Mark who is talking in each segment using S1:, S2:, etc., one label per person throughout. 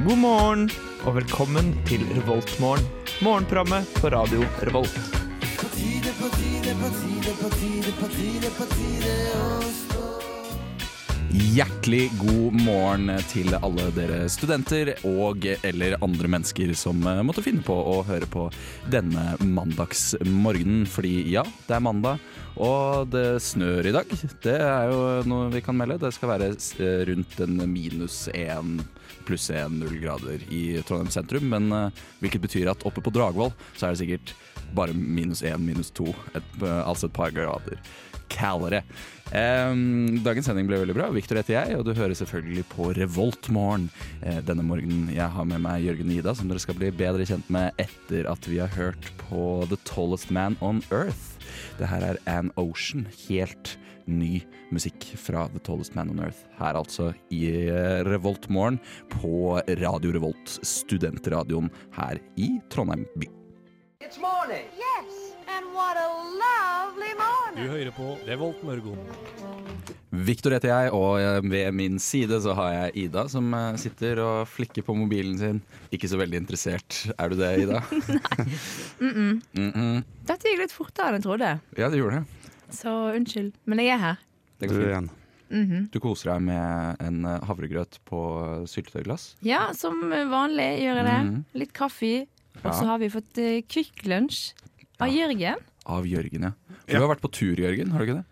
S1: morgen, og velkommen til Revoltmorgen. Morgenprogrammet på radio Revolt.
S2: Hjertelig god morgen til alle dere studenter og eller andre mennesker som eh, måtte finne på å høre på denne mandagsmorgenen. Fordi ja, det er mandag, og det snør i dag. Det er jo noe vi kan melde. Det skal være eh, rundt en minus én pluss én null grader i Trondheim sentrum. Men eh, hvilket betyr at oppe på Dragvoll så er det sikkert bare minus én, minus to. Et, eh, altså et par grader kaldere. Ehm, dagens sending ble veldig bra. Victor heter jeg, og du hører selvfølgelig på Revoltmorgen eh, denne morgenen. Jeg har med meg Jørgen og Ida, som dere skal bli bedre kjent med etter at vi har hørt på The Tallest Man on Earth. Det her er An Ocean. Helt ny musikk fra The Tallest Man on Earth. Her altså i eh, Revoltmorgen på Radio Revolt, studentradioen her i Trondheim by.
S3: It's morning.
S4: Yes, and what a lovely morning.
S5: hører på Revolt Mørgon.
S2: Victor heter jeg, og eh, ved min side så har jeg Ida som eh, sitter og flikker på mobilen sin. Ikke så veldig interessert. Er du det, Ida? Mm -mm.
S6: Dette gikk litt fortere enn jeg trodde,
S2: Ja, du gjorde det.
S6: så unnskyld. Men jeg er her.
S2: det
S7: Du
S2: går fint.
S7: igjen.
S6: Mm-hmm.
S2: du koser deg med en eh, havregrøt på eh, syltetøyglass.
S6: Ja, som vanlig gjør jeg det.
S7: Mm.
S2: Mhm.
S6: Litt kaffe. Og så
S2: Ja.
S6: har vi fått eh, Kvikk Lunsj av Jørgen.
S2: Av Jørgen, ja. For
S7: Ja.
S2: Du har vært på tur, Jørgen? har du ikke det?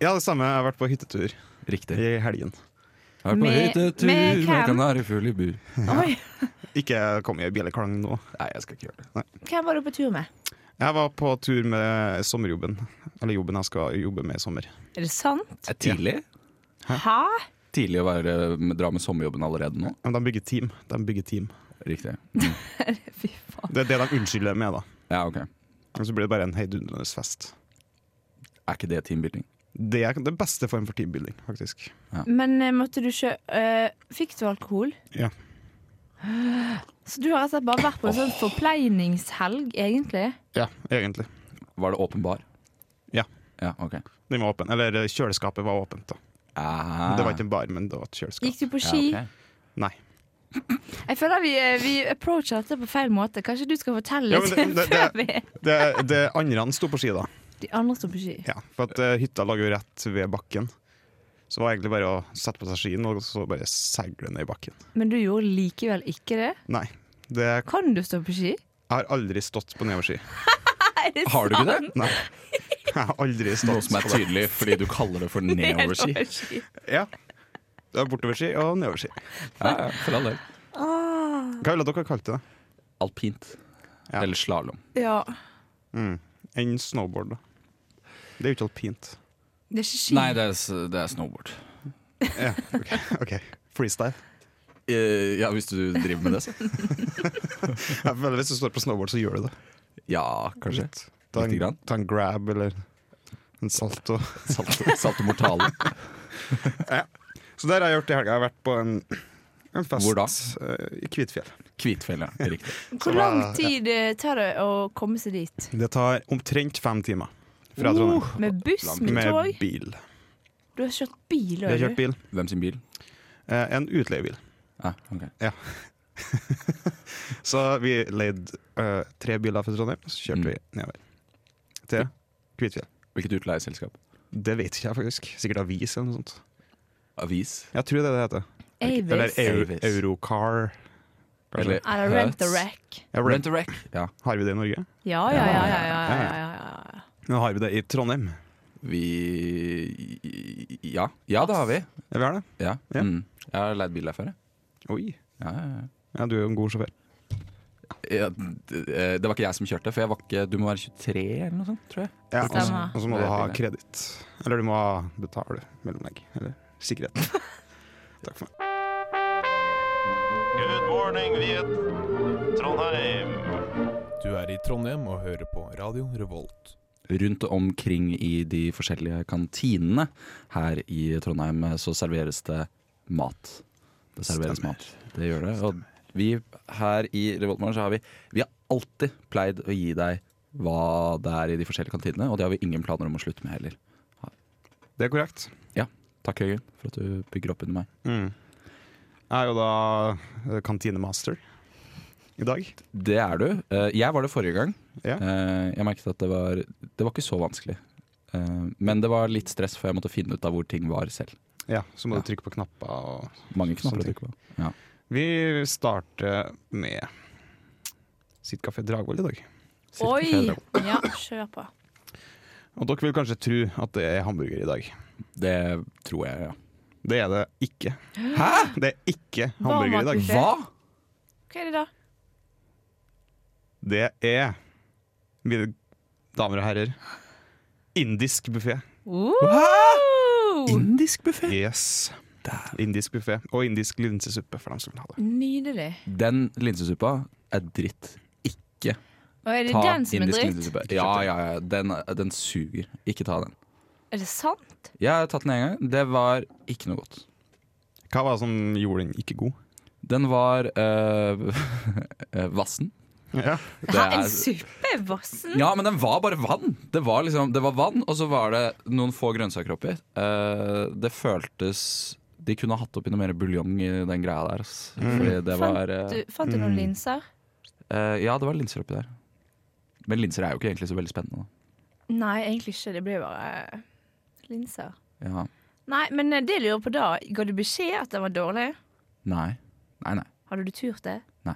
S7: Ja, det samme. Jeg har vært på hyttetur
S2: Riktig.
S7: i helgen.
S2: Jeg har vært på
S6: Med-
S2: hyttetur
S6: med
S2: med
S6: hvem?
S2: kanarifugl i bur.
S6: Oi,
S7: Ikke kom i bjelleklang nå.
S2: Nei, jeg skal ikke gjøre det.
S6: Hvem var du på tur med?
S7: Jeg var på tur med sommerjobben. Eller jobben jeg skal jobbe med i sommer.
S6: Er det sant?
S2: Er tidlig?
S6: Hæ?
S2: Tidlig å være, eh, dra med sommerjobben allerede nå?
S7: Men de bygger team. De bygger team.
S2: Riktig.
S6: Fy faen.
S7: Det er det de unnskylder med, da.
S2: Ja, ok.
S7: Og så blir det bare en heidundrende fest.
S2: Er ikke det teambuilding?
S7: Det er den beste form for teambuilding, faktisk.
S6: Men eh, måtte du ikke eh, Fikk du alkohol?
S7: Ja.
S6: Så du har rett og slett bare vært på en sånn forpleiningshelg, egentlig?
S7: Ja, egentlig.
S2: Var det åpenbar?
S7: Ja.
S2: Ja, ok.
S7: Den var åpen. Eller eh, kjøleskapet var åpent, da.
S2: Ah.
S7: Det var ikke en bar, men det var et kjøleskap.
S6: Gikk du på
S2: Ja,
S6: ski?
S2: ok.
S7: Nei.
S6: Jeg føler vi, eh, vi approacher dette på feil måte. Kanskje du skal fortelle
S7: Ja,
S6: litt
S7: men det- det-
S6: før vi
S7: Det, det andre sto på ski, da.
S6: De andre står på ski.
S7: Ja, for at eh, hytta lå jo rett ved bakken. Så det var egentlig bare å sette på seg skien og så bare seile ned i bakken.
S6: Men du gjorde likevel ikke det?
S7: Nei, det, jeg
S6: Kan du stå på ski?
S7: har aldri stått på nedoverski.
S2: Har du ikke det?
S7: Nei. Jeg har aldri
S2: Noe
S7: stått
S2: som er
S7: på det.
S2: tydelig fordi du kaller det for nedoverski.
S7: Ja. Det er bortoverski og nedoverski.
S2: Ja, ja, for all del.
S7: Hva ville dere kalt det?
S2: Alpint.
S7: Ja.
S2: Eller slalåm.
S6: Ja.
S7: Mm. En snowboard, da. Det er jo ikke alpint.
S6: Det er ikke ski.
S2: Nei, det er, s- det er snowboard.
S7: Ja, ok, ok. Freestyle.
S2: Eh, ja, hvis du driver med det, så.
S7: Jeg føler Hvis du står på snowboard, så gjør du det.
S2: Ja, kanskje.
S7: Ta
S2: Lite grann.
S7: en, ta en grab eller en salto.
S2: Salto, salto mortale.
S7: Så der har jeg gjort i helga. Jeg har vært på en, en fest
S2: Hvor da?
S7: eh, i Kvitfjell.
S2: Kvitfjell, ja. Riktig.
S6: Hvor
S7: så var-
S6: lang tid eh, tar det å komme seg dit?
S7: Det tar omtrent fem timer
S2: Uh,
S7: fra Trondheim.
S6: Med buss, med
S7: med
S6: tog?
S7: bil.
S6: Du har kjørt bil,
S7: Vi har
S6: har
S7: kjørt
S6: du?
S7: bil.
S2: Hvem sin bil?
S7: Eh, en utleiebil.
S2: Ah, ok.
S7: Så vi leide eh, tre biler fra Trondheim, og så kjørte
S2: Mm.
S7: vi nedover til Kvitfjell.
S2: Hvilket utleieselskap?
S7: Det vet ikke jeg faktisk. Sikkert Avis eller noe sånt.
S2: Avis?
S7: Jeg tror det er det det heter. Eller
S6: Avis?
S7: Euro,
S2: Avis.
S7: Eurocar. kanskje.
S2: Eller
S6: Eller Rent a
S2: Hertz?
S6: Rack?
S7: Ja,
S2: Rent
S7: rent.
S2: a Wreck. Ja.
S7: Har vi det i Norge?
S6: Ja, ja, ja. ja, ja, ja, ja, ja.
S7: Nå har vi det i Trondheim.
S2: Vi Ja. Ja, det har vi.
S7: Ja, vi har det.
S2: Ja.
S7: Ja.
S2: Mm. Jeg har leid bil der før, jeg.
S7: Oi.
S2: Ja, ja, ja.
S7: Ja, du er jo en god sjåfør.
S2: Ja, det, eh, det var ikke jeg som kjørte, for jeg var ikke, du må være 23 eller noe sånt, tror jeg.
S7: Ja, og så-
S6: Stemmer.
S7: og så må du ha
S2: Det
S7: kreditt. Eller du må ha betale mellomlegg. Eller sikkerhet. Takk for meg.
S8: Good morning, Viet. Trondheim.
S5: Du er i Trondheim og hører på Radio Revolt.
S2: Rundt omkring i de forskjellige kantinene her i Trondheim eh, så serveres det mat. Det serveres
S7: Stemmer.
S2: mat. Det gjør det. Og vi her i Revoltmorgen så har vi Vi har alltid pleid å gi deg hva det er i de forskjellige kantinene, og det har vi ingen planer om å slutte med heller.
S7: Det er korrekt.
S2: Takk, Jørgen, for at du bygger opp under meg.
S7: Mm. Jeg er jo da eh, kantinemaster. i dag.
S2: Det er du. Eh, Jeg var det forrige gang.
S7: Ja.
S2: Eh, Jeg merket at det var Det var ikke så vanskelig. Eh, Men det var litt stress, for jeg måtte finne ut av hvor ting var selv.
S7: Ja, Så må
S2: Ja.
S7: du trykke på knapper. Og
S2: Mange knapper å
S7: Sånn
S2: trykke på. Ja.
S7: vi starter med sitt kafé Dragvoll i dag.
S6: Oi! Ja, kjør på.
S7: Og dere vil kanskje tro at det er hamburger i dag.
S2: Det tror jeg, ja.
S7: Det er det ikke.
S2: Hæ?!
S7: Det er ikke hamburger i dag.
S6: Ok.
S2: Hva?!
S6: Hva er det da?
S7: Det er, mine damer og herrer, indisk buffé.
S6: Uh!
S2: Indisk buffé!
S7: Yes. Indisk buffé og indisk linsesuppe for dem som vil ha det.
S6: Nydelig.
S2: Den linsesuppa er dritt. Ikke
S6: Og er det
S2: ta
S6: den som er
S2: indisk
S6: dritt?
S2: linsesuppe. Ja, ja, ja. Den, den suger. Ikke ta den.
S6: Er det sant?
S2: Jeg har tatt den én gang. Det var ikke noe godt.
S7: Hva var det som gjorde den ikke god?
S2: Den var eh, vassen.
S7: Ja.
S2: Det
S6: Hæ, en
S2: er-
S6: suppe er vassen?
S2: Ja, men den var bare vann. Det var, liksom, det var vann, og så var det noen få grønnsaker oppi. Eh, det føltes De kunne hatt oppi noe mer buljong i den greia der. ass. Fordi det var eh,
S6: Du, fant du noen linser?
S2: eh, Ja, det var linser oppi der. Men linser er jo ikke egentlig så veldig spennende.
S6: Nei, egentlig ikke. Det blir bare linser.
S2: da. Ja.
S6: Nei, men eh, det jeg lurer på da, ga du beskjed at den var dårlig?
S2: Nei. Nei, nei.
S6: Hadde du turt det?
S2: Nei.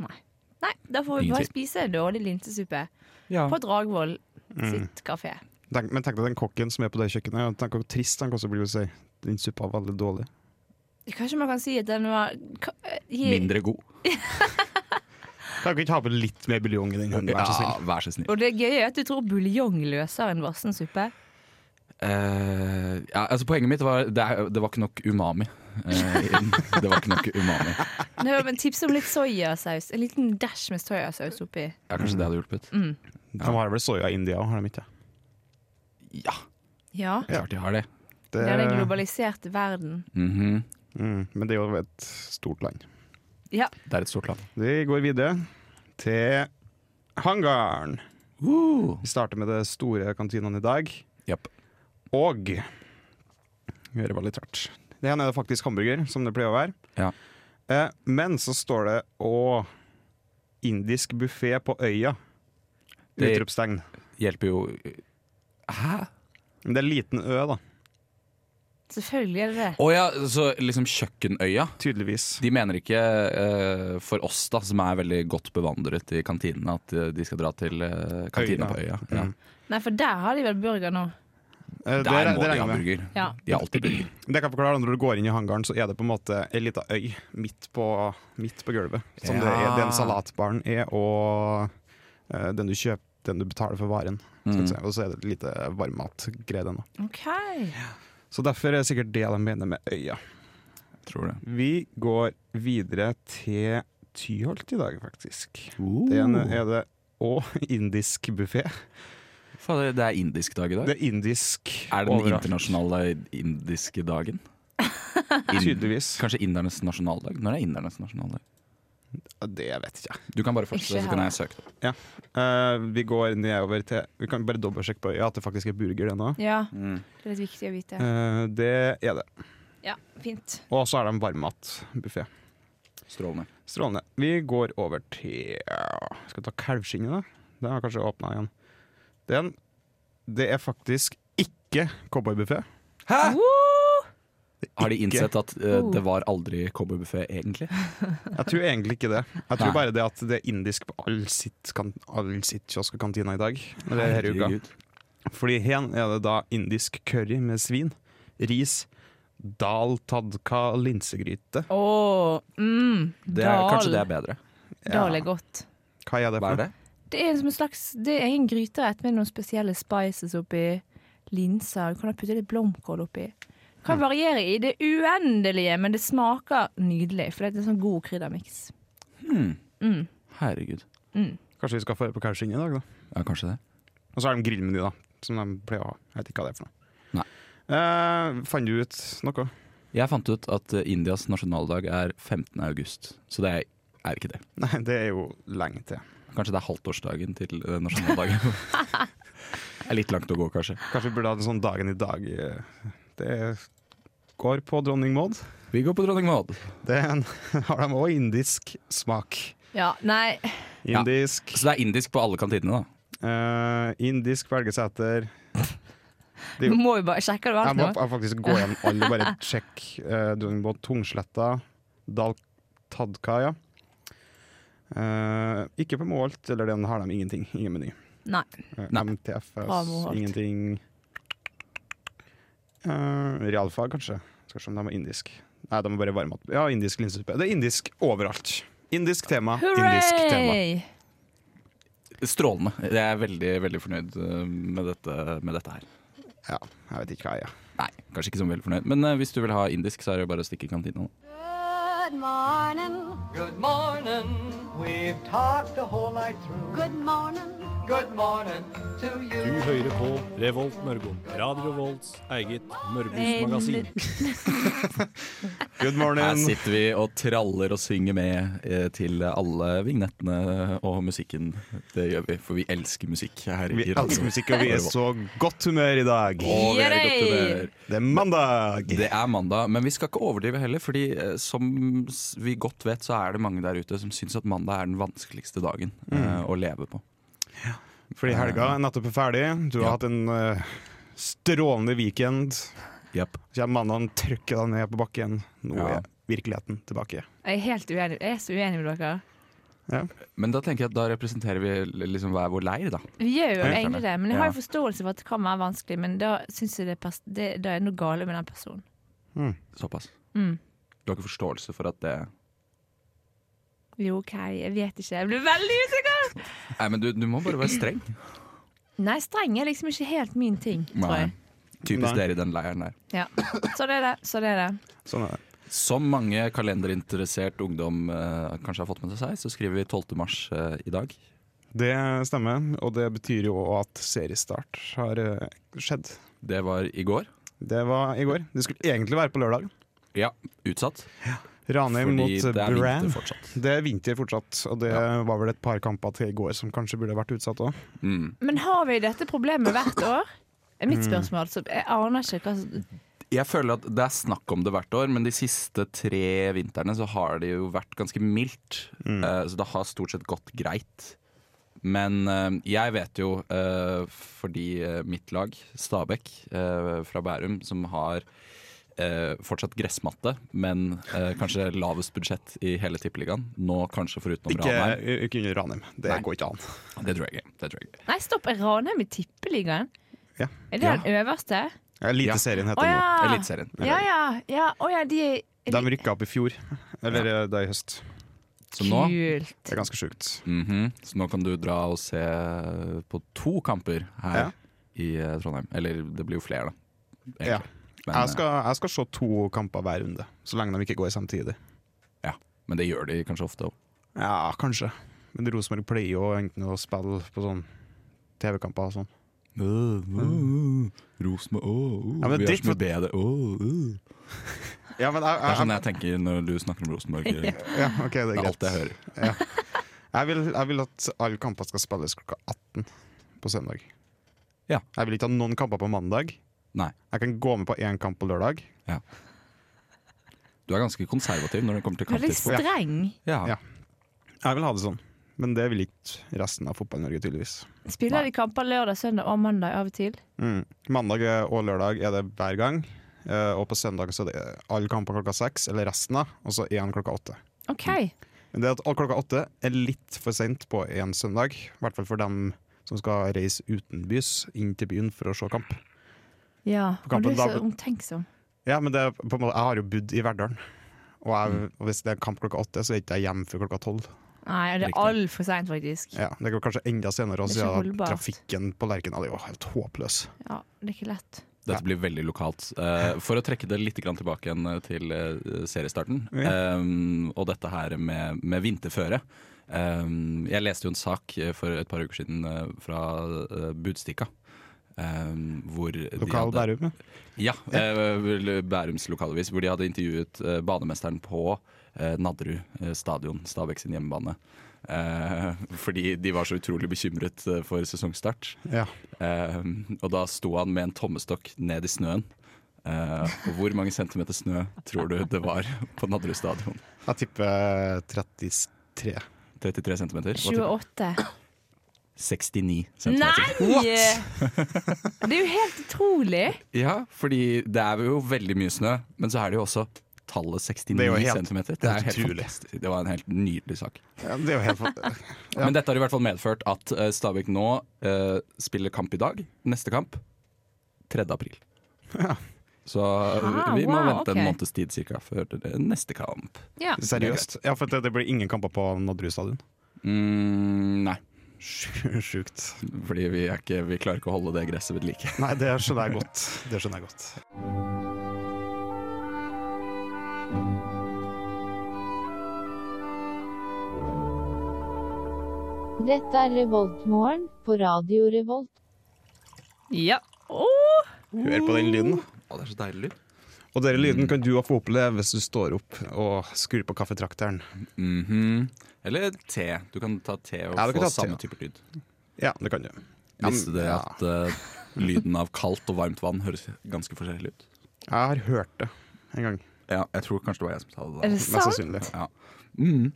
S6: Nei, Nei da får vi
S2: Ingen
S6: bare
S2: tvil.
S6: spise dårlig linsesuppe
S2: Ja.
S6: på Dragvoll sitt kafé.
S7: Tenk, men tenk deg den kokken som er på det kjøkkenet. Tenk hvor trist han også blir å si. Den suppa var veldig dårlig.
S6: Kanskje man kan si at den var ka- eh, hi-
S2: Mindre god.
S7: Kan dere ikke ha på litt mer buljong i den hunden, vær så
S2: Ja,
S7: snill?
S2: vær så snill.
S6: Og det gøye er at du tror buljong løser en vassen suppe.
S2: Eh, ja, altså poenget mitt var det, er, det var ikke nok umami. Eh, i den. det var ikke nok umami.
S6: Nei, men Tips om litt soyasaus. En liten dash med soyasaus oppi. Mm.
S2: Ja, kanskje det hadde hjulpet.
S7: De har vel soya i India òg, har de ikke?
S2: Ja,
S6: Ja,
S2: klart de har det.
S6: det er den globaliserte verden.
S2: Mhm.
S7: mm, men det er jo et stort land.
S6: Ja,
S2: Det er et stort land.
S7: Vi går videre til hangaren.
S2: Uh.
S7: Vi starter med det store kantinene i dag. Og Gjør det var litt rart. Det ene er faktisk hamburger, som det pleier å være.
S2: Ja.
S7: Eh, men så står det å indisk buffé på øya.
S2: Det-
S7: Utropstegn.
S2: Hjelper jo Hæ?
S7: Men det er en liten ø, da.
S6: selvfølgelig er det det.
S2: Å ja, så liksom Kjøkkenøya.
S7: Tydeligvis.
S2: De mener ikke eh, for oss da, som er veldig godt bevandret i kantinene, at eh, de skal dra til eh, kantina
S7: Øya.
S2: på øya. Ja.
S6: Nei, for der har de vel burger nå.
S7: Eh, Mm. det,
S2: Der
S7: det,
S2: må de ha
S7: regner jeg med.
S2: burger.
S6: Ja.
S2: De har alltid burger.
S7: det kan jeg forklare Når du går inn i hangaren, så er det på en måte ei lita øy midt på, midt på gulvet. Som det er
S2: Ja.
S7: den salatbaren er, og eh, den du kjøper, den du betaler for varen.
S2: Mm.
S7: skal du si. Og så er det et lite varmmatgreie der nå.
S6: Ok.
S7: Så derfor er det sikkert det de mener med øya.
S2: Tror det.
S7: Vi går videre til Tyholt i dag, faktisk.
S2: Oh.
S7: Det ene er det òg indisk buffé.
S2: Fader, det er indisk dag i dag.
S7: Det er indisk
S2: er det den
S7: overalt.
S2: internasjonale indiske dagen? Ind
S7: Tydeligvis.
S2: Kanskje indernes nasjonaldag? Når er indernes nasjonaldag?
S7: Ja, Det vet jeg ikke.
S2: Du kan bare fortsette,
S6: Ikke
S2: så kan
S6: her.
S2: jeg søke det opp.
S7: Eh, vi går nedover til Vi kan bare dobbeltsjekke på øya at det faktisk er burger, det nå.
S6: Ja,
S7: Mm.
S6: det er litt viktig å vite.
S7: Eh, det er det.
S6: Ja, fint.
S7: Og så er det en varmmatbuffé.
S2: Strålende.
S7: Strålende. Vi går over til Skal vi ta kalvskinnet, da? Den har kanskje åpna igjen. Den Det er faktisk ikke cowboybuffé. Ah!
S2: Hæ?
S6: Woo!
S2: Har de
S7: Ikke.
S2: innsett at eh,
S6: Oh.
S2: det var aldri cowboybuffé, egentlig?
S7: Jeg tror egentlig ikke det. Jeg tror
S2: Nei.
S7: bare det at det er indisk på all sitt, kan, all sitt kiosk og kantina i dag. Eller her i uka.
S2: Herregud.
S7: Fordi her er det da indisk curry med svin, ris, dal tadka linsegryte.
S6: Å, mm,
S2: Det er, kanskje det er bedre.
S6: Dal er godt.
S7: Hva er
S2: Hva
S7: det for?
S2: er det?
S6: Det er som en slags Det er en gryterett med noen spesielle spices oppi. Linser. Du kan da putte litt blomkål oppi. Kan
S7: Mm.
S6: variere i det uendelige, men det smaker nydelig. For det er en sånn god kryddermiks.
S2: Hmm,
S6: Mm,
S2: Herregud.
S7: Kanskje vi skal få høre på kalvskinnet i dag, da.
S2: Ja, kanskje det.
S7: Og så er det en grillmeny, da. Som de pleier å ha. Jeg vet ikke hva det er for noe.
S2: Nei.
S7: Eh, fant du ut noe?
S2: Jeg fant ut at eh, Indias nasjonaldag er 15. august, så det er, er ikke det.
S7: Nei, det er jo lenge til.
S2: Kanskje det er halvtårsdagen til eh, nasjonaldagen. det er litt langt å gå, kanskje.
S7: Kanskje vi burde hatt en sånn dagen i dag. eh, Det går på dronning Maud.
S2: Vi går på dronning Maud.
S7: Det er en, har de òg indisk smak.
S6: Ja, nei
S7: Indisk.
S2: Så det er indisk på alle kantinene, da.
S7: eh, indisk velges etter Det er jo-
S6: Du må jo bare sjekke det
S7: Jeg
S6: alt
S7: må
S6: nå.
S7: jeg må faktisk gå gjennom alle og bare sjekke uh, Dronningmoen, Tungsletta, Dal Tadkaja. Eh, ikke på Moholt, eller den har de ingenting. Ingen meny.
S6: Nei.
S7: Eh,
S2: Nei.
S6: Bra,
S7: MTFS,
S6: Moholt.
S7: ingenting. Eh, realfag, kanskje. Skal se om de har indisk. Nei, de har bare varmmat. Ja, indisk linsesuppe. Det er indisk overalt. Indisk tema, indisk tema.
S6: Hurray!
S2: Strålende. Jeg er veldig, veldig fornøyd eh, med dette, med dette her.
S7: Ja, jeg vet ikke hva jeg er.
S2: Nei, kanskje ikke så veldig fornøyd, men eh, hvis du vil ha indisk, så er det jo bare å stikke i kantina. da.
S4: Good morning.
S3: Good morning. We've talked the whole night through.
S4: Good morning.
S3: Good morning to you.
S9: Du hører på Revolt Mørgo. Radio Revolts eget Mørgos-magasin.
S2: Her
S7: Good morning.
S2: sitter vi og traller og synger med eh, til alle vignettene og musikken. Det gjør vi, for vi elsker musikk her
S7: Vi
S2: i Radio
S7: elsker musikk, og vi er
S2: Revolt.
S7: så godt humør i dag.
S2: Og vi er i godt humør.
S7: Det er mandag!
S2: Det er mandag, men vi skal ikke overdrive heller, fordi eh, som s- vi godt vet, så er det mange der ute som syns at mandag er den vanskeligste dagen eh, å leve på.
S7: Mm. Fordi helga er nettopp ferdig. Du har
S2: Ja.
S7: hatt en eh, strålende weekend. Så kommer mandagen, trykker deg ned på bakken. Nå
S2: Ja.
S7: er virkeligheten tilbake.
S6: Jeg er helt uenig. Jeg er så uenig med dere.
S2: Eh, Men da tenker jeg at da representerer vi l- liksom hver vår leir, da.
S6: Vi gjør jo
S7: Ja.
S6: egentlig det, men jeg har jo
S2: Ja.
S6: forståelse for at det kan være vanskelig. Men da syns jeg det, er pers- det, da er det noe gale med den personen.
S2: Såpass.
S6: Mm.
S2: Du har ikke forståelse for at det
S6: Jo, OK, jeg vet ikke. Jeg blir veldig usikker!
S2: Nei, men du, du må bare være streng.
S6: Nei, streng er liksom ikke helt min ting, tror jeg.
S2: Typisk
S7: Nei.
S2: dere i den leiren der.
S6: Ja. Så det er det. Så det er det.
S7: Sånn er det.
S2: Som mange kalenderinteressert ungdom eh, kanskje har fått med seg, så skriver vi 12. mars eh, i dag.
S7: Det stemmer, og det betyr jo også at seriestart har eh, skjedd.
S2: Det var i går.
S7: Det var i går. Det skulle egentlig være på lørdag.
S2: Ja, utsatt.
S7: Ranheim
S2: Fordi
S7: mot
S2: det er
S7: Brann.
S2: vinter fortsatt.
S7: Det er vinter fortsatt, og det var vel et par kamper til i går som kanskje burde vært utsatt òg.
S2: Mm.
S6: Men har vi dette problemet hvert år? Er mitt spørsmål. Så jeg aner ikke hva som
S2: Jeg føler at det er snakk om det hvert år, men de siste tre vintrene så har det jo vært ganske mildt. Eh, så det har stort sett gått greit. Men eh, jeg vet jo, eh, fordi eh, mitt lag, Stabæk eh, fra Bærum, som har eh, fortsatt gressmatte, men eh, kanskje lavest budsjett i hele Tippeligaen. Nå kanskje foruten
S7: Ikke,
S2: Ranheim.
S7: ikke under Ranheim. Det
S2: Nei.
S7: går ikke an.
S2: Det tror jeg ikke. Det tror jeg ikke.
S6: Nei, stopp. Er Ranheim i Tippeligaen?
S7: Ja.
S6: Er det den øverste?
S7: Eliteserien
S6: Å
S7: heter det nå.
S6: ja.
S2: Eliteserien.
S6: Ja ja. ja. Å ja, de er
S7: De rykka opp i fjor, eller eh, det er i høst.
S2: Så nå
S6: Kult.
S7: Det er ganske sjukt.
S2: Mhm. Så nå kan du dra og se på to kamper her
S7: Ja.
S2: i eh, Trondheim. Eller det blir jo flere, da. egentlig.
S7: Ja.
S2: Men, eh,
S7: Jeg skal, jeg skal se to kamper hver runde, så lenge de ikke går samtidig.
S2: eh, ja. Men det gjør de kanskje ofte òg.
S7: Ja, kanskje. Men Rosenborg pleier jo enten å spille på sånn TV-kamper og sånn.
S2: Rosenborg
S7: Ja, men vi er ditt som er for-
S2: bedre
S7: Ja, men jeg,
S2: Det er
S7: jeg,
S2: sånn jeg tenker når du snakker om Rosenborg. Det
S7: ja, ok, det er
S2: er
S7: greit.
S2: alt jeg hører.
S7: Jeg vil, jeg vil at alle kamper skal spilles klokka 18 på søndag.
S2: Ja.
S7: Jeg vil ikke ha noen kamper på mandag.
S2: Nei.
S7: Jeg kan gå med på én kamp på lørdag.
S2: Du er ganske konservativ når det kommer til
S6: Veldig
S2: kamptidspunkt.
S6: streng.
S2: Ja.
S7: Ja. Jeg vil ha det sånn. Men det vil ikke resten av Fotball-Norge, tydeligvis.
S6: Spiller de kamper lørdag, søndag og mandag av og til?
S7: Mm. Mandag og lørdag er det hver gang. Eh, og på søndag så er det alle kamper klokka seks, eller resten av, og så én klokka åtte.
S6: OK.
S7: Men det at all klokka åtte er litt for sent på en søndag, i hvert fall for dem som skal reise utenbys inn til byen for å se kamp.
S6: Ja.
S7: På
S6: Og du
S7: kampen
S6: er så
S7: da-
S6: omtenksom.
S7: Ja, men det er på en måte, Jeg har jo bodd i Verdalen, og, jeg, og hvis det er kamp klokka åtte, så er ikke jeg hjemme før klokka tolv.
S6: Nei, det er
S2: Riktig.
S6: altfor seint, faktisk.
S7: Ja, det går kanskje enda senere, og
S6: Det er ikke
S7: siden
S6: holdbart.
S7: trafikken på Lerkendal er jo helt håpløs.
S6: Ja, Det er ikke lett.
S2: Dette blir veldig lokalt. Eh, for å trekke det litt grann tilbake igjen eh, til eh, seriestarten,
S7: Ja.
S2: eh, og dette her med, med vinterføre. Eh, jeg leste jo en sak eh, for et par uker siden eh, fra eh, Budstikka. eh, hvor de
S7: Lokal
S2: hadde-
S7: Bærum, ja.
S2: Ja, eh, vel, Bærums lokalavis, hvor de hadde intervjuet eh, banemesteren på eh, Nadderud eh, stadion, Stabæk sin hjemmebane. Eh, fordi de var så utrolig bekymret eh, for sesongstart.
S7: ja.
S2: Eh, og da sto han med en tommestokk ned i snøen. Eh, og hvor mange centimeter snø tror du det var på Nadderud stadion?
S7: Jeg tipper 33.
S2: 33 centimeter. Hva tipper du?
S6: 28.
S2: 69 centimeter.
S6: Nei! Det er jo helt utrolig.
S2: Ja, fordi det er jo veldig mye snø, men så er det jo også tallet 69
S7: Det er jo helt-
S2: centimeter. Det, er
S7: helt
S2: helt
S7: utrolig.
S2: fantastisk. det var en helt nydelig sak.
S7: Ja, det er jo helt fant- Ja.
S2: Men dette har i hvert fall medført at eh, Stabæk nå eh, spiller kamp i dag. Neste kamp 3. april. Så eh,
S6: Ah,
S2: vi må
S6: wow,
S2: vente
S6: ok.
S2: en måneds tid cirka før det- neste kamp.
S6: Ja.
S7: Seriøst. Ja, for det, det blir ingen kamper på Nadderud stadion.
S2: Mm, nei,
S7: Sj- Sjukt.
S2: fordi vi, er ikke, vi klarer ikke å holde det gresset ved like.
S7: Nei, det skjønner jeg godt. Det skjønner jeg godt.
S10: Dette er Revoltmorgen på Radio Revolt.
S6: ja. Å,
S7: Hør på den lyden. da.
S2: det er så deilig lyd.
S7: Og den lyden kan du også få oppleve hvis du står opp og skrur på kaffetrakteren.
S2: Mhm. Eller te. Du kan ta te og
S7: Ja, du
S2: få
S7: kan ta te,
S2: samme
S7: ja.
S2: type lyd.
S7: Ja, det kan du. Ja, men-
S2: Visste dere
S7: ja.
S2: at eh, lyden av kaldt og varmt vann høres ganske forskjellig ut?
S7: Jeg har hørt det en gang.
S2: Ja, jeg tror kanskje det var jeg som sa det. da.
S6: er det
S7: Mest
S6: sant?
S7: sannsynlig.
S2: Ja. Mm.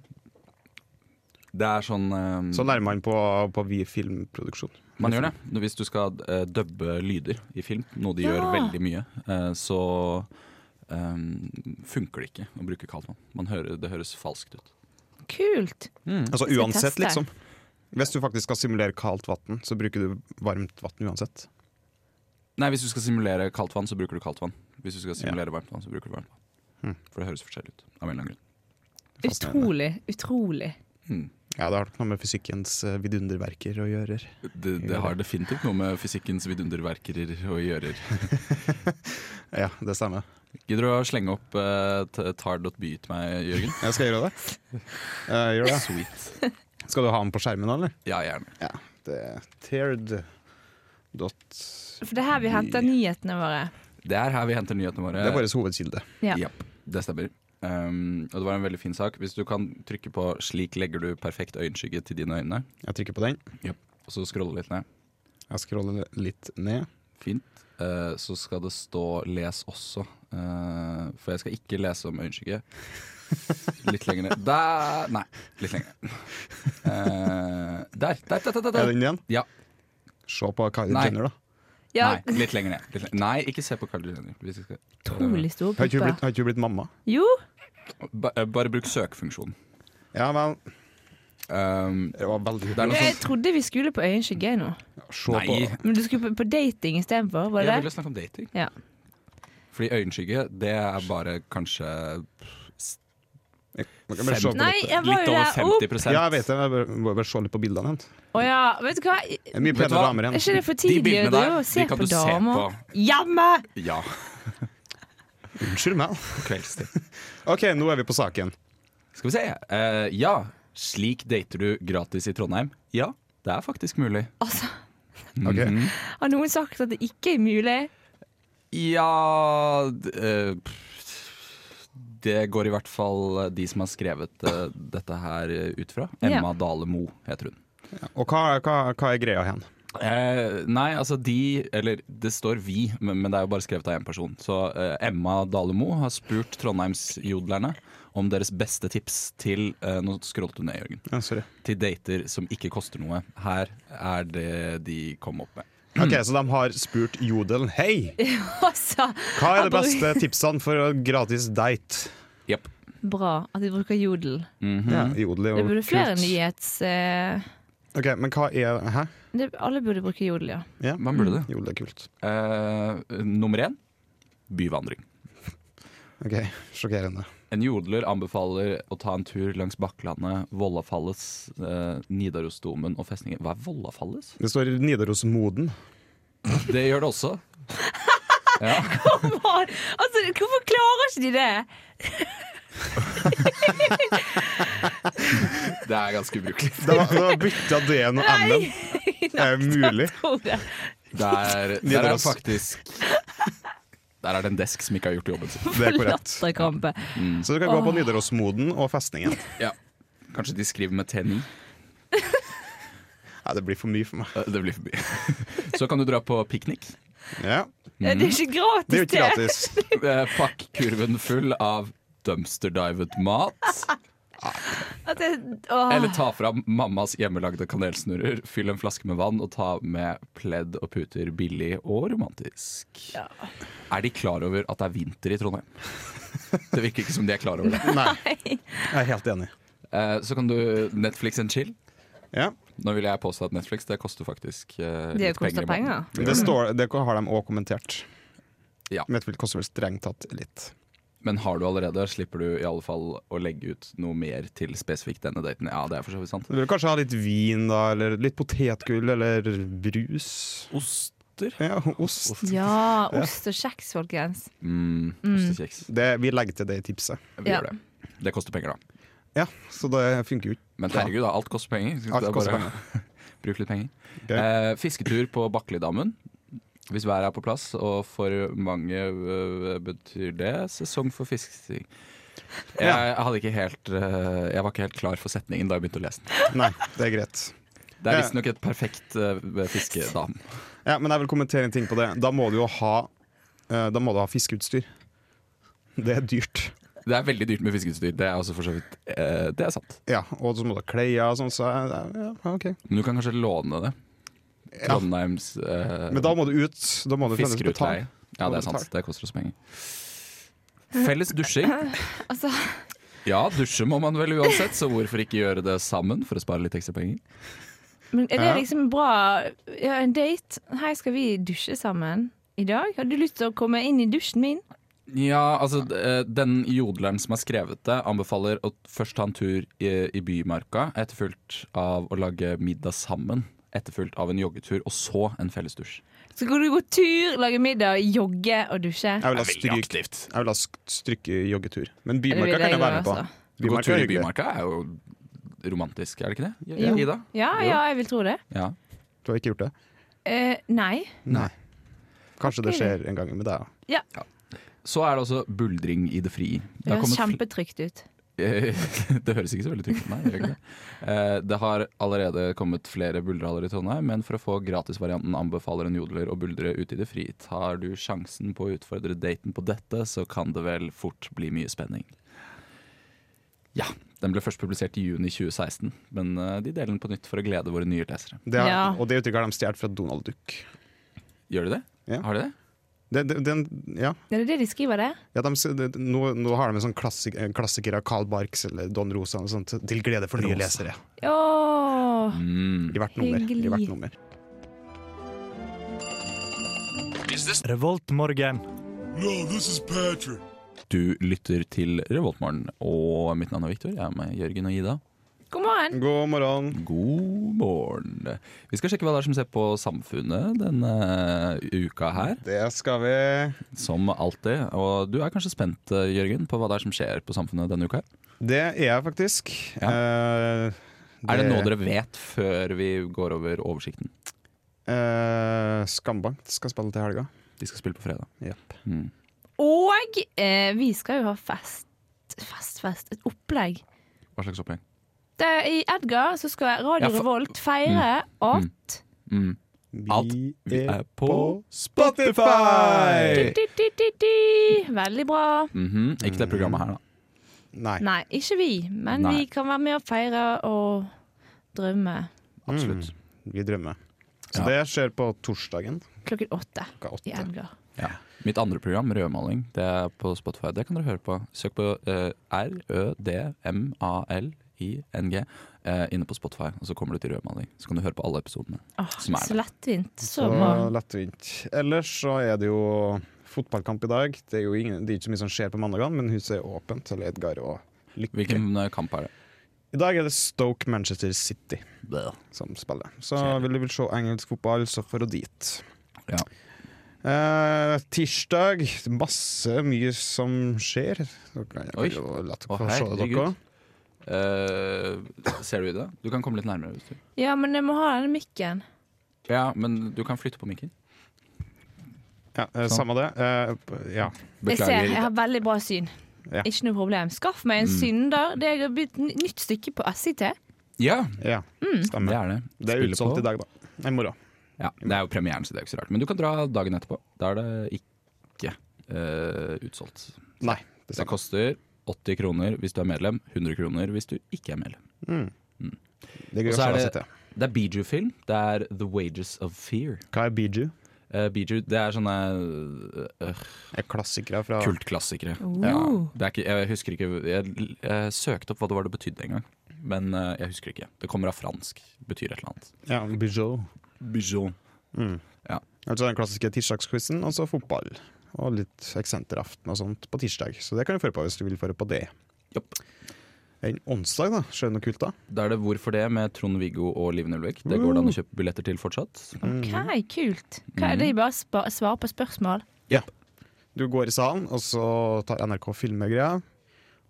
S2: Det er sånn, eh,
S7: Så lærer man på, på vi filmproduksjon.
S2: Man gjør det. Hvis du skal eh, dubbe lyder i film, noe de
S6: Ja.
S2: gjør veldig mye, eh, så eh, funker det ikke å bruke kaldt vann. Man hører, det høres falskt ut.
S6: Kult.
S2: Mm.
S7: Altså
S6: skal
S7: uansett,
S6: teste.
S7: liksom. Hvis du faktisk skal simulere kaldt vann, så bruker du varmt vann uansett.
S2: Nei, hvis du skal simulere kaldt vann, så bruker du kaldt vann. Hvis du skal simulere varmt vann, så bruker du varmt vann.
S7: Hm.
S2: For det høres forskjellig ut. Av en eller annen grunn.
S7: Fascinerende.
S6: Utrolig. Utrolig.
S7: Ja, det har nok noe med fysikkens eh, vidunderverker å gjøre.
S2: Det, det har definitivt noe med fysikkens vidunderverkerer å gjøre.
S7: Ja, det stemmer.
S2: Gidder du å slenge opp uh, tar.by til meg, Jørgen?
S7: Jeg skal gjøre det. Eh, gjør det.
S2: Sweet.
S7: Skal du ha den på skjermen, da, eller?
S2: Ja, gjerne.
S7: Ja. Det er teared dot
S6: For det er her vi henter nyhetene våre.
S2: Det er her vi henter nyhetene våre.
S7: Det er vår hovedkilde.
S6: Ja.
S2: Ja, det stemmer. Um, og det var en veldig fin sak. Hvis du kan trykke på 'slik legger du perfekt øyenskygge til dine øyne',
S7: Jeg trykker på den.
S2: og så scrolle litt ned.
S7: Jeg scroller litt ned.
S2: Fint. Eh, så skal det stå 'les også', Eh, for jeg skal ikke lese om øyenskygge. Litt lenger ned. Der! Nei, litt lenger ned. Eh, der, der, der, der, der,
S7: Er
S2: der!
S7: den igjen?
S2: Ja.
S7: Se på Kylie
S2: Nei.
S7: Jenner, da.
S6: Ja,
S2: Nei, litt lenger ned. Litt lenger. Nei, ikke se på Carl Jenner. Hvis jeg skal-
S6: utrolig store
S7: Har ikke hun blitt,
S6: pupper.
S7: har ikke hun blitt mamma?
S6: Jo,
S2: Ba- eh, bare bruk søkefunksjonen.
S7: Ja, men
S2: Um,
S7: det var veldig
S2: det er noe
S6: jeg
S2: sånt
S6: trodde vi skulle på øyenskygge nå.
S7: Se
S2: Nei,
S7: på
S2: jeg
S6: Men du skulle på- på dating istedenfor, var det
S2: ville
S6: det?
S2: snakke om dating.
S6: Ja.
S2: Fordi øyenskygge, det er bare kanskje
S7: Man kan bare se på
S6: Nei,
S7: dette.
S6: jeg var
S2: litt
S6: jo
S2: over
S6: der opp.
S2: 50
S7: Ja, jeg vet det. men Jeg bør- må bare se litt på bildene hennes.
S6: Å ja, vet du hva? Er
S7: Det er Mye
S2: Vet du
S7: penere
S2: hva?
S7: damer enn
S6: ikke det for
S2: De
S6: tidlig å
S2: bildene
S6: drive
S2: der,
S6: og se
S2: de kan
S6: på
S2: du se på
S6: damer? Jamme!
S2: ja,
S7: Unnskyld meg.
S2: kveldstid.
S7: OK, nå er vi på saken.
S2: Skal vi se. Eh, ja, slik dater du gratis i Trondheim. Ja, det er faktisk mulig. Mhm.
S6: Altså,
S7: Ok.
S6: har noen sagt at det ikke er mulig?
S2: Ja d- eh, pff, Det går i hvert fall de som har skrevet eh, dette her eh, ut fra.
S6: Ja.
S2: Emma Dale Moe heter hun.
S7: Og hva, hva, hva er greia hen?
S2: Eh, nei, altså de Eller det står vi, men, men det er jo bare skrevet av én person. Så eh, Emma Dalemo har spurt Trondheimsjodlerne om deres beste tips til eh, Nå scrollet du ned, Jørgen.
S7: Ja, sorry.
S2: Til dater som ikke koster noe. Her er det de kom opp med.
S7: Ok, Så de har spurt Jodel Hei,
S6: Altså,
S7: hva er
S6: jeg
S7: de
S6: bruker-
S7: beste tipsene for å gratis date?
S2: Jepp.
S6: Bra at de bruker jodel.
S2: Mhm.
S7: Ja, Jodel er
S6: Det
S7: jo
S6: burde flere
S7: kult.
S6: nyhets... eh,
S7: Ok, Men hva er Hæ?
S6: det, alle burde bruke jodel, ja.
S7: Ja.
S2: Hva burde det?
S7: Jodel er kult.
S2: Eh, nummer én byvandring.
S7: Ok, Sjokkerende.
S2: En jodler anbefaler å ta en tur langs Bakklandet, Vollafalles, eh, Nidarosdomen og festningen. Hva er Vollafalles?
S7: Det står Nidarosmoden.
S2: Det gjør det også. Ja.
S6: Åh, altså, hvorfor klarer ikke de det?
S2: Det er ganske ubrukelig.
S7: Det var, det var bytta D-en og M-en. Er det mulig?
S6: Tror det.
S2: Der, der er det
S7: Nidaros.
S2: faktisk Der er det en desk som ikke har gjort jobben sin.
S7: Det er korrekt. Mm-hmm.
S6: Latterkrampe.
S7: Så du kan gå på Nidarosmoden og festningen.
S2: Kanskje de skriver med T9.
S7: Ja, det blir for mye for meg.
S2: Eh, Det blir forbi. Så kan du dra på piknik.
S7: Ja,
S6: Ja, Det er ikke gratis,
S7: Det er jo ikke gratis.
S2: Eh, Pakk kurven full av dumpsterdivet mat.
S6: At jeg, åh.
S2: Eller ta fram mammas hjemmelagde kanelsnurrer, fyll en flaske med vann og ta med pledd og puter billig og romantisk.
S6: Ja.
S2: Er de klar over at det er vinter i Trondheim? Det virker ikke som de er klar over det.
S7: Nei. Jeg er helt enig.
S2: Eh, Så kan du Netflix and chill.
S7: Ja.
S2: Nå vil jeg påstå at Netflix det koster faktisk eh,
S6: Det
S2: litt penger.
S6: koster
S2: i måneden.
S6: penger.
S7: Det, står, det har de òg kommentert.
S2: Ja.
S7: Netflix koster vel strengt tatt litt.
S2: Men har du allerede, slipper du i alle fall å legge ut noe mer til spesifikt denne daten. Ja, det er for så vidt sant.
S7: Du vil kanskje ha litt vin, da, eller litt potetgull, eller brus.
S2: Oster?
S7: Ja, ost.
S6: Ja, ost og kjeks, folkens.
S2: Mm, Ostekjeks.
S7: Det, vi legger til det i tipset.
S2: Vi
S6: Ja.
S2: gjør det. Det koster penger, da.
S7: Ja, så det funker jo ikke.
S2: Men herregud, da, alt koster penger. Skal
S7: Alt
S2: det
S7: koster
S2: bare- Bruk litt penger.
S7: Ok.
S2: Eh, fisketur på Baklidammen. Hvis været er på plass, og for mange øh, betyr det sesong for fisking. Jeg, jeg, hadde ikke helt, øh, jeg var ikke helt klar for setningen da jeg begynte å lese den.
S7: Nei, det er greit.
S2: Det er
S7: Ja.
S2: visstnok et perfekt øh, fiskedam.
S7: Ja, Men jeg vil kommentere en ting på det. Da må du jo ha eh, Da må du ha fiskeutstyr. Det er dyrt.
S2: Det er veldig dyrt med fiskeutstyr. Det er også for så vidt eh, Det er sant.
S7: Ja, Og så må du ha klær og sånn. Så jeg- ja, ok.
S2: Men du kan kanskje låne det.
S7: Ja.
S2: Trondheims eh,
S7: Men da må du ut. Da må du fremdeles
S2: fiskerutleie.
S7: betale.
S2: Ja, det er sant. Det koster oss penger. Felles dusjing.
S6: Altså,
S2: Ja, dusje må man vel uansett, så hvorfor ikke gjøre det sammen for å spare litt ekstra penger?
S6: men er det
S7: Ja.
S6: liksom bra ja, En date? Hei, skal vi dusje sammen i dag? Har du lyst til å komme inn i dusjen min?
S2: Ja, altså d- eh, Den jodleren som har skrevet det, anbefaler å først ta en tur i, i Bymarka, etterfulgt av å lage middag sammen. Etterfulgt av en joggetur, og så en fellesdusj.
S6: Så kan du gå tur, lage middag, jogge og dusje?
S7: Jeg vil ha
S2: Det er veldig
S7: stryk,
S2: aktivt.
S7: jeg vil ha sk- stryke joggetur. Men
S6: Det altså. vil
S7: Bymarka kan jeg
S6: gjøre
S7: være med på.
S6: også.
S2: Gå
S7: Bymarka
S2: tur
S7: er
S2: i
S7: hyggelig.
S2: Bymarka er jo romantisk, er det ikke det?
S6: Jo.
S2: Ida?
S6: Ja, ja, jeg vil tro det.
S2: Ja.
S7: Du har ikke gjort det?
S6: Eh, nei.
S7: Nei. Kanskje det
S6: Ok.
S7: skjer en gang med deg òg.
S2: Så er det også buldring i det fri. Det,
S6: Det
S2: har
S6: høres
S2: kommet fl-
S6: kjempetrygt ut.
S2: det høres ikke så veldig trygt ut, nei. Det, gjør ikke det. Eh, det har allerede kommet flere buldrehaller i Trondheim, men for å få gratisvarianten anbefaler en jodler å buldre ute i det fri. Tar du sjansen på å utfordre daten på dette, så kan det vel fort bli mye spenning. Ja. Den ble først publisert i juni 2016, men eh, de deler den på nytt for å glede våre nye lesere.
S7: Det har,
S6: Ja.
S7: Og det uttrykket har de stjålet fra Donald Duck.
S2: Gjør de det?
S7: Ja.
S2: Har de det?
S7: Det, det, den- ja.
S6: Er det det de skriver der?
S7: Ja, de, s- det- nå, nå har de en sånn klassik, en klassiker av Carl Barks eller Don Rosa og sånt, til glede for nye
S2: Rosa.
S7: lesere.
S6: Åh
S2: Mm.
S7: I hvert nummer. I hvert
S6: Hyggelig.
S7: nummer.
S1: Revoltmorgen.
S2: Du lytter til Revoltmorgen, og mitt navn er Viktor. Jeg er med Jørgen og Ida.
S6: God morgen!
S7: God morgen.
S2: God morgen. Vi skal sjekke hva det er som ser på samfunnet denne eh, uka her,
S7: Det skal vi.
S2: som alltid. Og du er kanskje spent, eh, Jørgen, på hva det er som skjer på samfunnet denne uka?
S7: Det er jeg faktisk. Eh,
S2: Er det noe dere vet før vi går over oversikten?
S7: eh, Skambankt skal spille til helga.
S2: De skal spille på fredag.
S7: Jepp.
S2: Mm.
S6: Og eh, vi skal jo ha fest. Fest, fest. Et opplegg.
S2: Hva slags opplegg?
S6: Det er I Edgar så skal Radio
S2: Ja, for-
S6: Revolt feire
S2: Mm.
S6: at
S2: Mm.
S7: Vi
S2: Alt Vi er på Eh.
S7: Spotify!
S6: di, di, di, di. Veldig bra.
S2: Mhm. Ikke det programmet her, da.
S7: Nei.
S6: Nei, ikke vi, men
S2: Nei.
S6: vi kan være med og feire og drømme
S2: Absolutt.
S7: Mm. Vi drømmer. Så
S2: Ja.
S7: det skjer på torsdagen
S6: klokken åtte
S7: klokka
S6: i
S7: åtte.
S6: Edgar.
S2: Ja. Mitt andre program, Rødmaling, det er på Spotify. Det kan dere høre på. Søk på eh, R-Ø-D-M-A-L-I-N-G eh, inne på Spotify, og så kommer du til Rødmaling. Så kan du høre på alle episodene.
S6: Åh,
S2: Som er
S6: så lettvint. Så
S7: Så
S6: bra.
S7: lettvint. Ellers så er det jo fotballkamp i dag. Det er jo ingen, det er ikke så mye som skjer på mandagene, men huset er åpent til Edgar og Lykke.
S2: Hvilken eh, kamp er det?
S7: I dag er det Stoke Manchester City som spiller. Så
S2: Kjedelig.
S7: vil du vil se engelsk fotball, så får du dit.
S2: Ja.
S7: Eh, tirsdag masse mye som skjer. Dere kan- Jeg
S2: Oi.
S7: kan jo la dere
S2: Å,
S7: få se det,
S2: herregud.
S7: dere.
S2: Eh, ser du i det? Du kan komme litt nærmere. Hvis du.
S6: Ja, men jeg må ha denne mikken.
S2: Ja, men du kan flytte på mikken.
S7: Ja, eh,
S2: Sånn.
S7: samme det. Eh, ja.
S6: Jeg ser, jeg har veldig bra syn.
S7: Ja. Mm.
S6: Ikke noe problem. Skaff meg en synder. Det er et nytt stykke på SIT.
S2: Ja,
S7: ja.
S2: det
S7: Stemmer.
S2: er det.
S7: Det er
S2: Spiller
S7: utsolgt
S2: på.
S7: i dag, da. I morgen.
S2: Ja, det er jo premieren, så det er jo ikke så rart. Men du kan dra dagen etterpå. Da er det ikke eh, utsolgt.
S7: Nei. Det
S2: Det
S7: stemmer.
S2: koster 80 kroner hvis du er medlem, 100 kroner hvis du ikke er medlem.
S7: Det
S2: Og
S7: går
S2: så er
S7: seg å
S2: det-
S7: sette.
S2: Det er Biju-film. Det er The Wages of Fear.
S7: Hva er Biju?
S2: Eh, Biju, det er sånne eh, øh,
S7: Er klassikere
S2: Ah.
S7: fra
S2: kultklassikere.
S6: Oh.
S2: Ja, det er ikke, jeg husker ikke jeg, eh, søkte opp hva det var det betydde en gang, men eh, jeg husker ikke. Det kommer av fransk, betyr et eller annet.
S7: Ja, Bijou.
S2: Bijou.
S7: Mm.
S2: Ja.
S7: Altså den klassiske tirsdagsquizen, og så fotball. Og litt eksenteraften og sånt på tirsdag. Så det kan du føre på hvis du vil føre på det.
S2: Jopp.
S7: En onsdag, da. Skjer det noe kult da?
S2: Da er det 'Hvorfor det?' med Trond-Viggo og Liven Ulvik. Det går det an å kjøpe billetter til fortsatt.
S7: Mhm. Mm.
S6: Ok, kult. Hva er det de bare spa- svarer på spørsmål?
S7: Du går i salen, og så tar NRK filmegreia.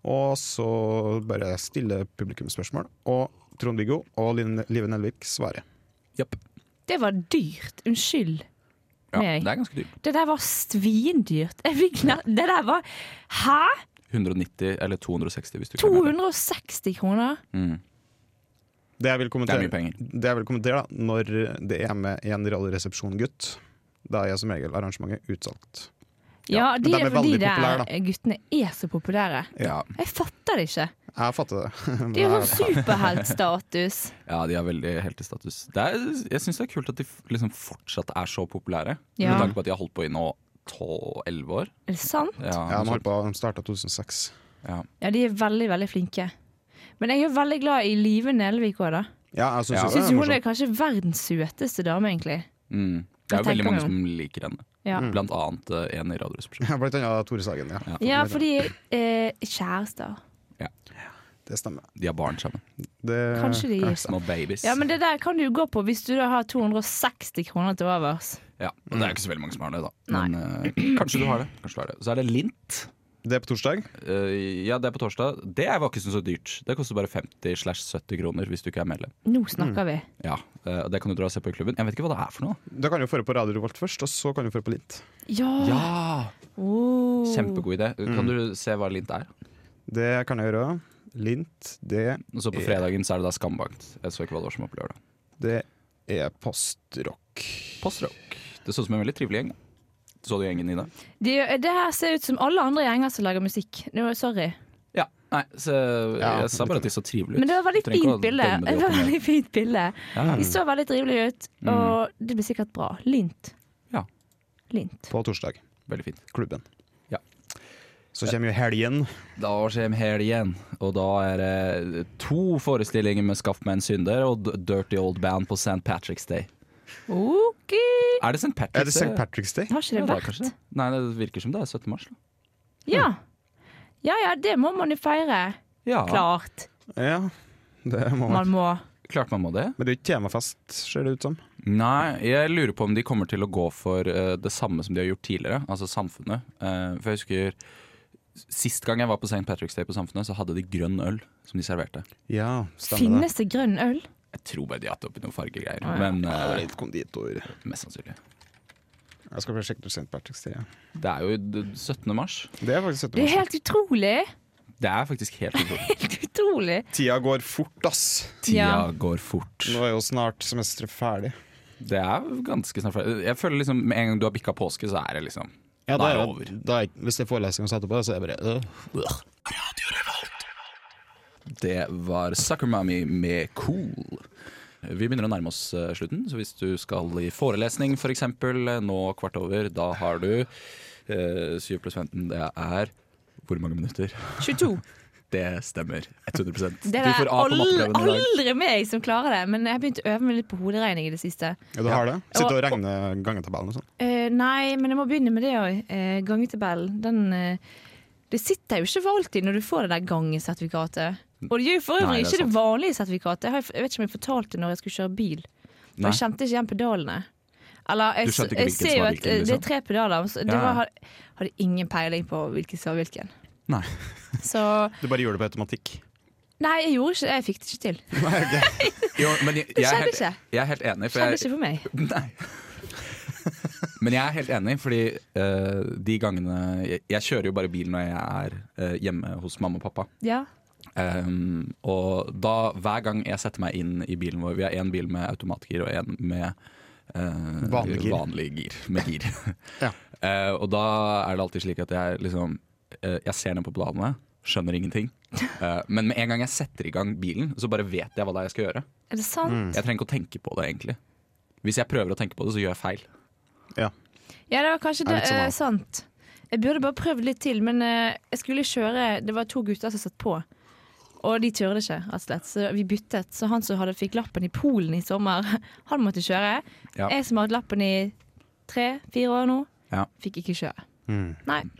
S7: Og så bare stiller publikum spørsmål. Og Trond-Viggo og Liv Live Nelvik svarer.
S2: Jopp.
S6: Det var dyrt. Unnskyld.
S2: Ja,
S6: Nei.
S2: det er ganske dyrt.
S6: Det der var svindyrt. Jeg fikk nær- Det der var Hæ?
S2: 190 eller 260 hvis du ikke er medlem.
S6: 260 kroner?
S2: Mm.
S7: Det jeg vil kommentere,
S2: Det er mye penger.
S7: det jeg vil kommentere da, når det er med en Radioresepsjon-gutt, da er som regel arrangementet utsolgt.
S6: Ja,
S7: men
S6: det
S7: de
S6: er
S7: er
S6: fordi
S7: veldig
S6: de
S7: populære, da.
S6: guttene er så populære.
S2: Ja.
S6: Jeg fatter det ikke.
S7: Jeg fatter det. men
S6: De
S7: jeg-
S6: har sånn superheltstatus.
S2: ja, de har veldig heltestatus. Det er, jeg syns det er kult at de f- liksom fortsatt er så populære.
S6: Ja.
S2: Med tanke på at de har holdt på i nå 12-11 år.
S6: Er det sant?
S2: Ja, altså,
S7: Ja, de holdt på, de starta 2006.
S6: Ja, de er veldig, veldig flinke. Men jeg er veldig glad i Live Nelvik òg, da.
S7: Ja, jeg syns
S2: Ja.
S7: jo
S6: Jeg
S7: det
S6: syns
S7: er
S6: hun er
S7: morsomt.
S6: kanskje verdens søteste dame, egentlig.
S2: Mm. Det er jo
S6: Jeg tenker
S2: veldig mange
S6: meg om.
S2: som liker henne.
S6: Ja,
S2: Blant annet eh, en i Radioresepsjonen.
S7: Blant annet Tore Sagen, ja.
S6: ja fordi eh, Kjærester.
S7: Det stemmer.
S2: De har barn sammen.
S7: Det,
S6: Kanskje de gir
S2: Små babies.
S6: Ja, men det der kan du jo gå på hvis du da har 260 kroner til overs.
S2: Ja, og det er ikke så veldig mange som har det, da. Men eh, kanskje du har det. Kanskje du har det. Så er det Lint.
S7: det er på torsdag.
S2: Eh, ja, det er på torsdag. Det er ikke så dyrt. Det koster bare 50 slash 70 kroner hvis du ikke er medlem.
S6: Nå snakker vi.
S2: Ja, eh, og Det kan du dra og se på i klubben. Jeg vet ikke hva det er for noe.
S7: Da kan du føre på Radio Revolt først, og så kan du føre på Lint.
S6: Ja!
S2: Ja,
S6: Oh.
S2: Kjempegod idé. Kan du se hva Lint er?
S7: Det kan jeg gjøre. Lint, det,
S2: Og så på fredagen så er det da Skambankt. Jeg så ikke hva det var som opplever det.
S7: det er postrock.
S2: Postrock. Det så ut som en veldig trivelig gjeng. Så du gjengen, Ine?
S6: Det, det her ser ut som alle andre gjenger som lager musikk. Nå, sorry.
S2: Ja. Nei, så
S7: Ja,
S2: jeg sa bare at de så trivelige ut.
S6: Men det var et veldig
S2: Du trenger ikke å
S6: fint bilde.
S2: dømme de
S6: Det var
S2: opp og ned.
S6: veldig fint bilde.
S2: Ja. Mm.
S6: De så veldig trivelige ut, og det blir sikkert bra. Lint.
S2: Ja.
S6: Lint.
S7: på torsdag.
S2: Veldig fint.
S7: Klubben.
S2: Ja.
S7: Så kommer jo helgen.
S2: Da kommer helgen, og da er det to forestillinger med Skaff meg en synder og Dirty Old Band på St. Patrick's Day.
S6: OK!
S2: Er det St.
S7: Er det
S2: Patrick's
S7: St. Patrick's Day?
S6: Har ikke
S2: Ja,
S6: det
S2: det er kanskje
S6: vært?
S2: det. Nei, det virker som det er 17. mars. Da.
S6: Ja. ja ja, det må man jo feire.
S2: Ja,
S6: Klart
S7: Ja, det må
S6: man
S7: man.
S6: må.
S2: klart man må det.
S7: Men det er jo ikke temafest, ser det ut som.
S2: Nei, jeg lurer på om de kommer til å gå for eh, det samme som de har gjort tidligere, altså samfunnet. Eh, for jeg husker Sist gang jeg var på St. Patrick's Day på Samfunnet, så hadde de grønn øl som de serverte.
S7: Ja, stemmer det.
S6: Finnes det grønn øl?
S2: Jeg tror bare de hadde oppi noen fargegreier,
S6: Å, ja.
S2: men
S7: Det er
S2: eh,
S7: litt konditor.
S2: mest sannsynlig.
S7: Jeg skal bare sjekke ut St. Patrick's Day. Ja.
S2: Det er jo d- 17. mars.
S7: Det er faktisk altså. 17.
S6: Det er
S7: mars.
S6: helt utrolig!
S2: Det er faktisk helt utrolig.
S6: Helt utrolig!
S7: Tida går fort, ass.
S2: Tida
S6: Ja.
S2: går fort.
S7: Nå er jo snart semesteret ferdig.
S2: Det er ganske snart ferdig. Jeg føler liksom med en gang du har bikka påske, så er det liksom
S7: Ja,
S2: da er det over.
S7: Da er, hvis det er forelesning å sette på, så er det bare øh.
S2: Det var Sucker Mommy med Cool. Vi begynner å nærme oss eh, slutten, så hvis du skal i forelesning f.eks. eksempel eh, nå kvart over, da har du eh, 7 pluss 15, det er hvor mange minutter?
S6: 22.
S2: Det stemmer. 100
S6: Det
S2: Du
S6: er
S2: får A på
S6: aldri,
S2: matteprøven i dag.
S6: aldri meg som klarer det, men jeg har begynt å øve meg litt på hoderegning i det siste.
S7: Ja, du har det? Sitte og
S6: Og-
S7: regne gangetabellen og sånn.
S6: Eh, nei, men jeg må begynne med det òg. Uh, gangetabellen. Den, eh, det sitter jo ikke for alltid når du får det der gangesertifikatet. Og det gjør jo for
S2: Nei, det
S6: øvrig
S2: er
S6: ikke det
S2: sant.
S6: vanlige sertifikatet. Jeg, har, jeg vet ikke om jeg fortalte det når jeg skulle kjøre bil. For
S2: Nei.
S6: jeg kjente ikke igjen pedalene. Eller
S2: Du
S6: jeg,
S2: skjønte ikke
S6: jeg
S2: hvilken
S6: ser
S2: som
S6: jo
S2: var
S6: at
S2: hvilken,
S6: eh, det
S2: liksom?
S6: er tre pedaler. Så det
S2: Ja.
S6: var, hadde, hadde ingen peiling på hvilken som var hvilken.
S2: Nei.
S6: Så
S7: Du bare gjør det på automatikk.
S6: Nei, jeg gjorde ikke det. Jeg fikk det ikke til.
S2: Jo, men jeg, jeg, er
S6: skjedde
S2: helt,
S6: ikke.
S2: jeg er helt enig.
S6: Det skjedde
S2: jeg-
S6: ikke for meg.
S2: Nei. Men jeg er helt enig, fordi eh, de gangene jeg, jeg kjører jo bare bil når jeg er eh, hjemme hos mamma og pappa.
S6: Ja.
S2: Um, og da, hver gang jeg setter meg inn i bilen vår Vi har én bil med automatgir og én med eh,
S7: Vanlig gir.
S2: vanlig gir. Med gir.
S7: Ja.
S2: Eh, og da er det alltid slik at jeg liksom eh, Jeg ser ned på bladene, skjønner ingenting. Eh, men med en gang jeg setter i gang bilen, så bare vet jeg hva det er jeg skal gjøre.
S6: Er det
S7: Mm.
S6: sant?
S2: Jeg trenger ikke å tenke på det, egentlig. Hvis jeg prøver å tenke på det, så gjør jeg feil.
S6: Ja, det var kanskje det,
S7: Er litt sånn,
S6: eh,
S7: ja.
S6: sant. Jeg burde bare prøvd litt til, men eh, jeg skulle kjøre Det var to gutter som satt på, og de turte ikke, rett og slett. Så vi byttet. Så han som hadde fikk lappen i Polen i sommer, han måtte kjøre.
S2: Ja.
S6: Jeg som har hatt lappen i tre-fire år nå,
S2: Ja.
S6: fikk ikke kjøre. Nei.
S7: Mm.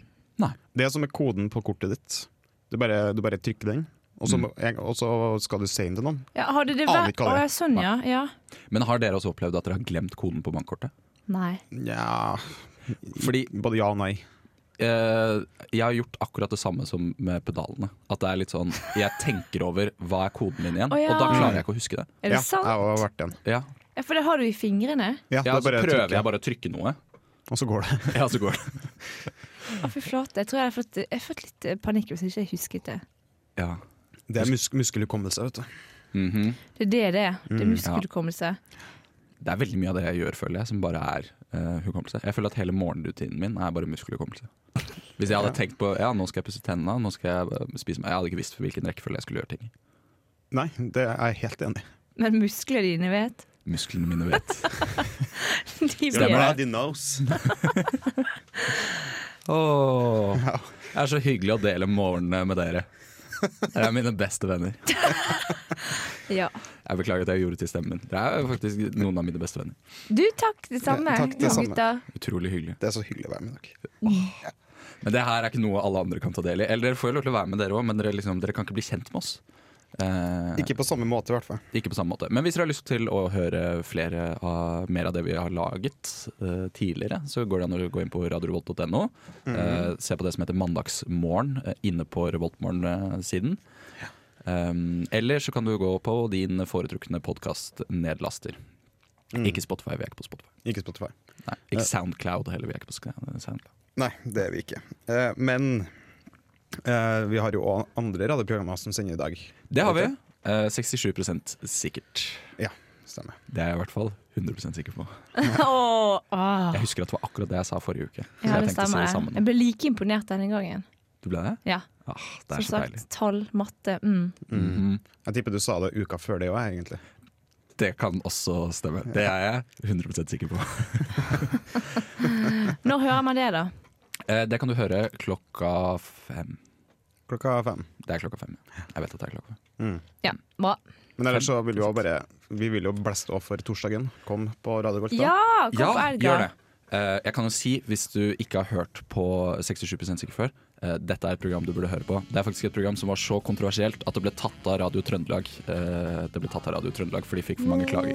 S7: Det er som er koden på kortet ditt. Du bare, du bare trykker den, og så, må- en- og så skal du si den til noen.
S6: Ja, hadde det
S7: Aner
S6: vært
S7: ikke hva det
S6: Å
S7: er.
S6: ja, sånn, ja. ja.
S2: Men har dere også opplevd at dere har glemt koden på bankkortet?
S6: Nei.
S7: Nja
S2: Fordi
S7: Både ja og nei.
S2: eh, jeg har gjort akkurat det samme som med pedalene. At det er litt sånn Jeg tenker over hva er koden min igjen,
S6: Å, ja.
S2: og da
S7: Mm.
S2: klarer jeg ikke å huske det.
S6: Er det
S7: ja,
S6: sant?
S7: Jeg har vært den.
S2: Ja,
S6: Ja, for det har du i fingrene.
S7: Ja,
S2: ja
S7: det er
S2: Så
S7: bare å
S2: prøver
S7: trykke,
S2: jeg bare å trykke noe,
S7: og så går det.
S2: ja, så går det.
S6: Å, fy flate. Jeg tror jeg har fått, jeg har fått litt eh, panikk hvis jeg ikke husket det.
S2: Ja.
S7: Det er mus muskelhukommelse, vet du.
S2: Mhm.
S6: Det er det det er. Det er
S2: ja.
S7: Mm,
S6: muskelhukommelse.
S2: Det er veldig mye av det jeg gjør, føler jeg, som bare er eh, hukommelse. Jeg føler at hele morgenrutinen min er bare muskelhukommelse. Hvis jeg hadde tenkt på ja, nå skal jeg pusse tennene, nå skal jeg eh, spise meg Jeg hadde ikke visst hvilken rekkefølge jeg skulle gjøre ting i.
S7: Nei, det er jeg helt enig i.
S6: Men musklene dine vet.
S2: Musklene mine vet.
S6: De
S2: Stemmer
S6: vet.
S7: Bloody nose.
S2: Åh, det er så hyggelig å dele morgenene med dere. Dere er mine beste venner.
S6: Ja.
S2: Jeg beklager at jeg gjorde det til stemmen min. Dere er faktisk noen av mine beste venner.
S6: Du, takk det samme.
S7: Ja, takk, det samme.
S6: gutter.
S2: Utrolig hyggelig.
S7: Det er så hyggelig å være med dere.
S2: Men det her er ikke noe alle andre kan ta del i. Eller dere får jo lov til å være med dere òg, men dere, liksom, dere kan ikke bli kjent med oss. Eh,
S7: Ikke på samme måte, i hvert fall.
S2: Ikke på samme måte. Men hvis dere har lyst til å høre flere av, mer av det vi har laget eh, tidligere, så går det an å gå inn på radiorevolt.no. eh, se på det som heter Mandagsmorgen eh, inne på Revoltmorgen-siden. Um, eller så kan du gå på din foretrukne podkast-nedlaster. Ikke Spotify, vi er ikke på Spotify.
S7: Ikke Spotify.
S2: Nei, ikke Soundcloud heller, vi er ikke på Sk- Soundcloud.
S7: Nei, det er vi ikke. Eh, men eh, vi har jo også andre radioprogrammer som sender i dag.
S2: Det har vi. Eh, 67 sikkert.
S7: Ja, stemmer.
S2: Det er jeg i hvert fall 100 sikker på.
S6: Åh, åh.
S2: Jeg husker at det var akkurat det jeg sa forrige uke. Så
S6: Ah. Ja,
S2: jeg
S6: det
S2: tenkte å si
S6: stemmer.
S2: det
S6: det.
S2: sammen.
S6: Jeg ble like imponert denne gangen.
S2: Du ble det?
S6: Ja,
S2: Ah, det
S6: Som
S2: er så
S6: sagt,
S2: deilig.
S6: tall, matte. Mm.
S2: Mhm.
S7: Jeg tipper du sa det uka før det òg, egentlig.
S2: Det kan også stemme. Det er jeg 100 sikker på.
S6: Når hører man det, da?
S2: Eh, Det kan du høre klokka fem.
S7: Klokka fem.
S2: Det er klokka fem. ja. Jeg vet at det er klokka fem.
S6: Ja, bra.
S7: Men ellers så vil vi jo bare Vi vil jo blæste opp for torsdagen. Kom på Radio Golt, da.
S6: Ja, kom på Elga.
S2: gjør det. Eh, Jeg kan jo si, hvis du ikke har hørt på 67 sikker før, eh, dette er et program du burde høre på. Det er faktisk et program som var så kontroversielt at det ble tatt av Radio Trøndelag. Eh, Det ble tatt av Radio Trøndelag, for de fikk for mange klager.